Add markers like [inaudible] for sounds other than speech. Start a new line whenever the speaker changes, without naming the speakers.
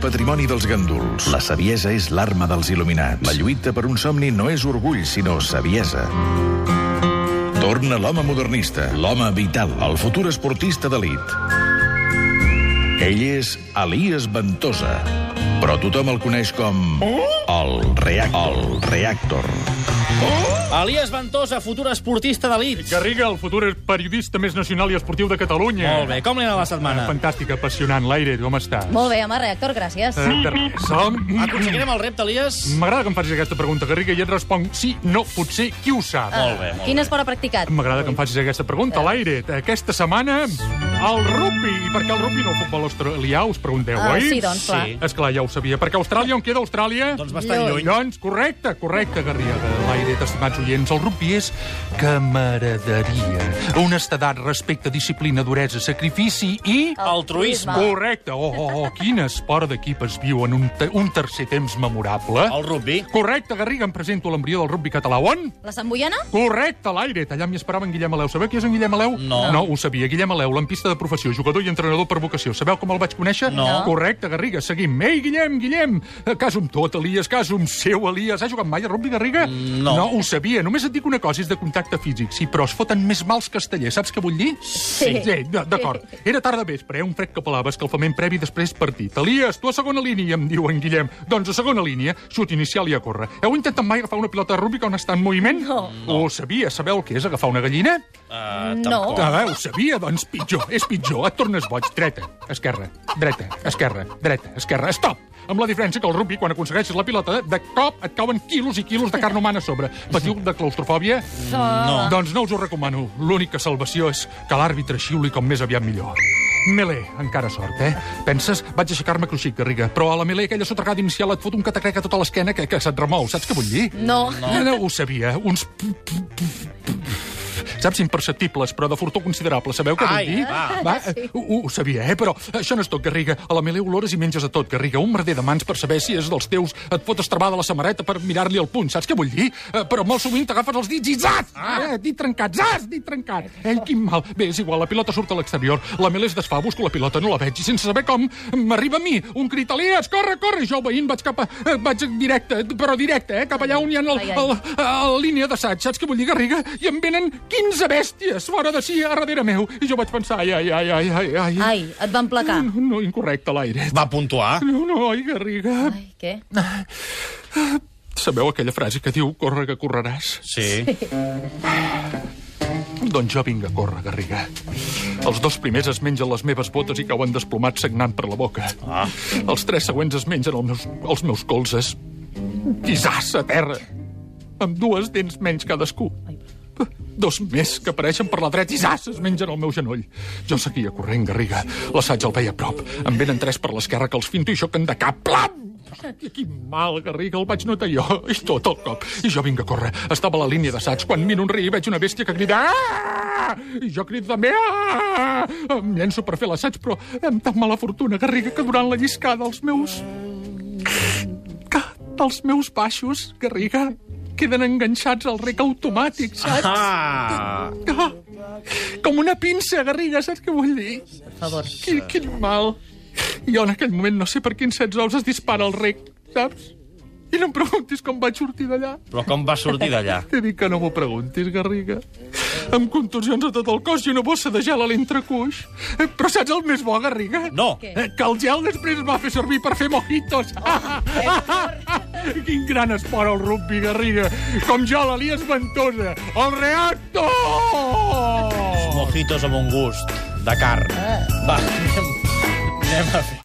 patrimoni dels ganduls. La saviesa és l'arma dels il·luminats. La lluita per un somni no és orgull, sinó saviesa. Torna l'home modernista, l'home vital, el futur esportista d'elit. Ell és Elias Ventosa, però tothom el coneix com... El, reac el Reactor.
Elias Ventosa, futur esportista d'elit.
Garriga, el futur periodista més nacional i esportiu de Catalunya.
Molt bé, com li ha anat la setmana?
Fantàstic, apassionant. L'aire, com està?
Molt bé, home, reactor, gràcies.
Eh, de res. Home,
Aconseguirem el repte, Elias?
M'agrada que em facis aquesta pregunta, Garriga, i et responc sí, no, potser, qui ho sap?
Ah. Molt bé, Eh. molt
Quin esport ha practicat?
M'agrada que em facis aquesta pregunta, l'aire. Aquesta setmana, el rugby. I per què el rugby no el futbol australià, us pregunteu,
Ah,
oi?
sí, doncs, clar.
Sí.
És clar, ja ho sabia. Perquè Austràlia, on queda Austràlia?
Doncs bastant
Lluny.
lluny.
Doncs correcte, correcte, Garriga. L'aire, estimats oients, el rugby és camaraderia. Honestedat, respecte, disciplina, duresa, sacrifici i...
Altruisme.
Correcte. Oh, oh, oh, quin esport d'equip es viu en un, te un tercer temps memorable.
El rugby.
Correcte, Garriga, em presento l'embrió del rugby català. On?
La Sant Boiana?
Correcte, l'aire. Allà m'hi esperava en Guillem Aleu. Sabeu qui és en Guillem Aleu?
No.
No, ho sabia. Guillem Aleu, lampista de professió, jugador i entrenador per vocació. Sabeu com el vaig conèixer?
No.
Correcte, Garriga. Seguim. Ei, Guillem, Guillem! Eh, Caso amb tot, Elias, caso amb seu, Elias. Has jugat mai a rugby, Garriga?
No.
No, ho sabia. Només et dic una cosa, és de contacte físic. Sí, però es foten més mals castellers. Saps què vull dir?
Sí.
Sí, d- d'acord. Era tarda vespre, eh? un fred que pelava, escalfament previ després partit. Elias, tu a segona línia, em diu en Guillem. Doncs a segona línia, xut inicial i a córrer. Heu intentat mai agafar una pilota de rugby quan està en moviment?
No.
Ho sabia, sabeu el que és agafar una gallina?
Uh,
No.
tampoc.
Ah, ho sabia, doncs pitjor, és pitjor. Et tornes boig, dreta, esquerra, dreta, esquerra, dreta, esquerra, stop! Amb la diferència que el rugby, quan aconsegueixes la pilota, de cop et cauen quilos i quilos de carn humana a sobre. Patiu de claustrofòbia?
No.
Doncs no us ho recomano. L'única salvació és que l'àrbitre xiuli com més aviat millor. Melé, encara sort, eh? Penses? Vaig aixecar-me cruixit, Garriga, però a la Melé aquella sotragada inicial et fot un catacrec a tota l'esquena que, que se't remou. Saps què vull dir?
No.
No, no ho sabia. eh? Uns... pu- pu- pu- pu- Saps, imperceptibles, però de fortó considerable. Sabeu què
Ai,
vull dir?
va.
eh, ho, ho sabia, eh? Però això no és tot, Garriga. A la Melé olores i menges a tot, Garriga. Un merder de mans per saber si és dels teus. Et pot estrebar de la samarreta per mirar-li el puny. Saps què vull dir? Eh, però molt sovint t'agafes els dits i zas! Eh, dit trencat, zas! Dit trencat. Ei, quin mal. Bé, és igual, la pilota surt a l'exterior. La Melé es desfà, busco la pilota, no la veig. I sense saber com, m'arriba a mi. Un crit, Elias, corre, corre! I jo, veïn, vaig cap a... eh, Vaig directe, però directe, eh? Cap allà on hi ha el,
Ai, ai.
el, a la línia d'assaig, saps què vull dir, Garriga? I em venen 15 bèsties fora de si, a darrere meu. I jo vaig pensar, ai, ai, ai, ai, ai, ai.
Ai, et van placar.
No, no, incorrecte, l'aire.
Va puntuar.
No, no, ai, Garriga.
Ai, què?
Sabeu aquella frase que diu, corre que correràs?
Sí.
Doncs jo vinc a córrer, Garriga. Els dos primers es mengen les meves botes i cauen desplomats sagnant per la boca. Ah. Els tres següents es mengen els meus, els meus colzes. I zas, a terra. Amb dues dents menys cadascú. Dos més que apareixen per la dreta i zas, es mengen el meu genoll. Jo seguia corrent, Garriga. L'assaig el veia a prop. Em venen tres per l'esquerra que els finto i xoquen de cap. Plam! Hòstia, Quin mal, Garriga, el vaig notar jo. I tot el cop. I jo vinc a córrer. Estava a la línia d'assaig quan miro enrere i veig una bèstia que crida... "Ah!" I jo crido també... "Ah!" Em llenço per fer l'assaig, però amb tan mala fortuna, Garriga, que durant la lliscada els meus... Els meus baixos, Garriga, queden enganxats al rec automàtic, saps?
Ah!
Ah, com una pinça, Garriga, saps què vull dir?
Per favor.
Quin, quin mal. Jo en aquell moment no sé per quins sets ous es dispara el rec, saps? I no em preguntis com vaig sortir d'allà.
Però com va sortir d'allà?
T'he dit que no m'ho preguntis, Garriga. Amb contusions a tot el cos i una bossa de gel a l'entrecuix. Eh, Però saps el més bo, Garriga?
No.
Què?
Eh, Que el gel després es va fer servir per fer mojitos. [laughs] Quin gran esport el rugby, Garriga. Com jo, l'Elias Ventosa. El reactor!
Ah.
Mojitos amb un gust de carn. Va, anem, anem a fer...